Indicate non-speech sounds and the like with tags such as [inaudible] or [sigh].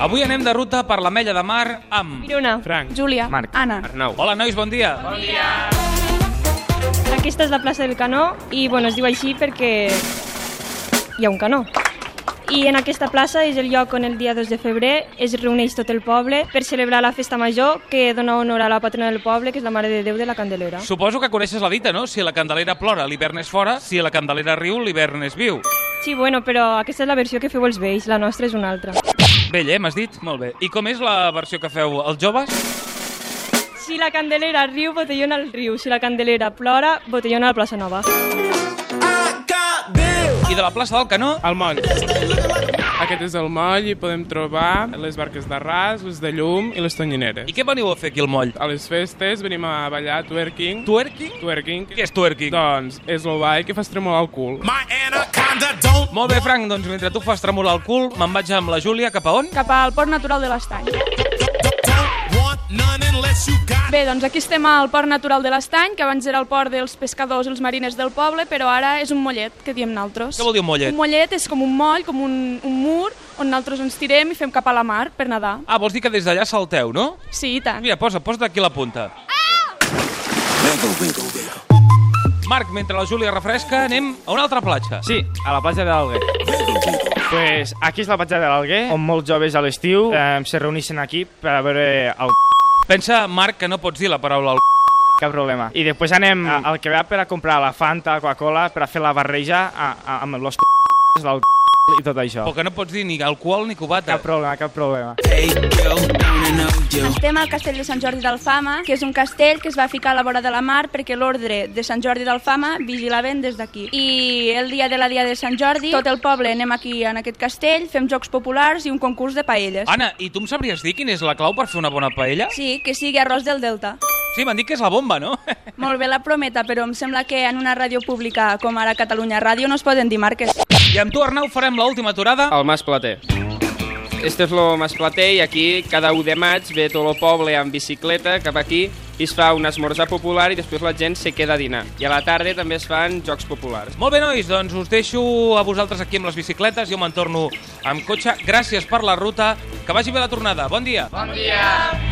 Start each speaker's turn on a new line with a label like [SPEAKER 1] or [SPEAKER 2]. [SPEAKER 1] Avui anem de ruta per l'Amella de Mar amb...
[SPEAKER 2] Mirona.
[SPEAKER 3] Frank.
[SPEAKER 2] Júlia.
[SPEAKER 4] Marc.
[SPEAKER 5] Anna.
[SPEAKER 3] Arnau.
[SPEAKER 1] Hola, nois, bon dia.
[SPEAKER 2] Aquesta és la plaça del Canó i bueno, es diu així perquè hi ha un canó. I en aquesta plaça és el lloc on el dia 2 de febrer es reuneix tot el poble per celebrar la festa major que dona honor a la patrona del poble, que és la Mare de Déu de la Candelera.
[SPEAKER 1] Suposo que coneixes la dita, no? Si la candelera plora, l'hivern és fora. Si la candelera riu, l'hivern és viu.
[SPEAKER 2] Sí, bueno, però aquesta és la versió que feu els vells, la nostra és una altra.
[SPEAKER 1] Vell, eh? M'has dit? Molt bé. I com és la versió que feu els joves?
[SPEAKER 2] Si la Candelera riu, botellona al riu. Si la Candelera plora, botellona a la plaça Nova.
[SPEAKER 1] I de la plaça del Canó?
[SPEAKER 3] El moll. Aquest és el moll i podem trobar les barques de ras, les de llum i les tonyineres.
[SPEAKER 1] I què veniu a fer aquí al moll?
[SPEAKER 3] A les festes venim a ballar twerking.
[SPEAKER 1] Twerking?
[SPEAKER 3] Twerking.
[SPEAKER 1] Què és twerking?
[SPEAKER 3] Doncs és el ball que fas tremolar el cul.
[SPEAKER 1] Molt bé, Frank, doncs mentre tu fas tremolar el cul, me'n vaig amb la Júlia cap a on?
[SPEAKER 5] Cap al Port Natural de l'Estany. Bé, doncs aquí estem al Port Natural de l'Estany, que abans era el port dels pescadors i els mariners del poble, però ara és un mollet, que diem naltros.
[SPEAKER 1] Què vol dir un mollet?
[SPEAKER 5] Un mollet és com un moll, com un, un mur, on naltros ens tirem i fem cap a la mar per nedar.
[SPEAKER 1] Ah, vols dir que des d'allà salteu, no?
[SPEAKER 5] Sí, i tant.
[SPEAKER 1] Mira, posa, posa aquí la punta. Marc, mentre la Júlia refresca, anem a una altra platja.
[SPEAKER 6] Sí, a la platja de l'Alguer. pues aquí és la platja de l'Alguer, on molts joves a l'estiu eh, se reuneixen aquí per a veure el [laughs] c***,
[SPEAKER 1] Pensa, Marc, que no pots dir la paraula al c***.
[SPEAKER 6] cap problema. I després anem a- al Quebec per a comprar la Fanta, la Coca-Cola, per a fer la barreja a, a, amb los [laughs] c***s, del c*** i tot això.
[SPEAKER 1] o que no pots dir ni alcohol ni cubata.
[SPEAKER 6] Cap problema, cap problema.
[SPEAKER 7] Estem al castell de Sant Jordi d'Alfama, que és un castell que es va ficar a la vora de la mar perquè l'ordre de Sant Jordi d'Alfama vigilaven des d'aquí. I el dia de la dia de Sant Jordi, tot el poble anem aquí en aquest castell, fem jocs populars i un concurs de paelles.
[SPEAKER 1] Anna, i tu em sabries dir quina és la clau per fer una bona paella?
[SPEAKER 7] Sí, que sigui arròs del Delta.
[SPEAKER 1] Sí, m'han dit que és la bomba, no? [laughs]
[SPEAKER 7] Molt bé la prometa, però em sembla que en una ràdio pública com ara Catalunya Ràdio no es poden dir marques.
[SPEAKER 1] I amb tu, Arnau, farem l'última aturada.
[SPEAKER 8] El Mas Plater. Este és el Mas Plater i aquí cada 1 de maig ve tot el poble amb bicicleta cap aquí i es fa un esmorzar popular i després la gent se queda a dinar. I a la tarda també es fan jocs populars.
[SPEAKER 1] Molt bé, nois, doncs us deixo a vosaltres aquí amb les bicicletes. Jo me'n torno amb cotxe. Gràcies per la ruta. Que vagi bé la tornada. Bon dia. Bon dia.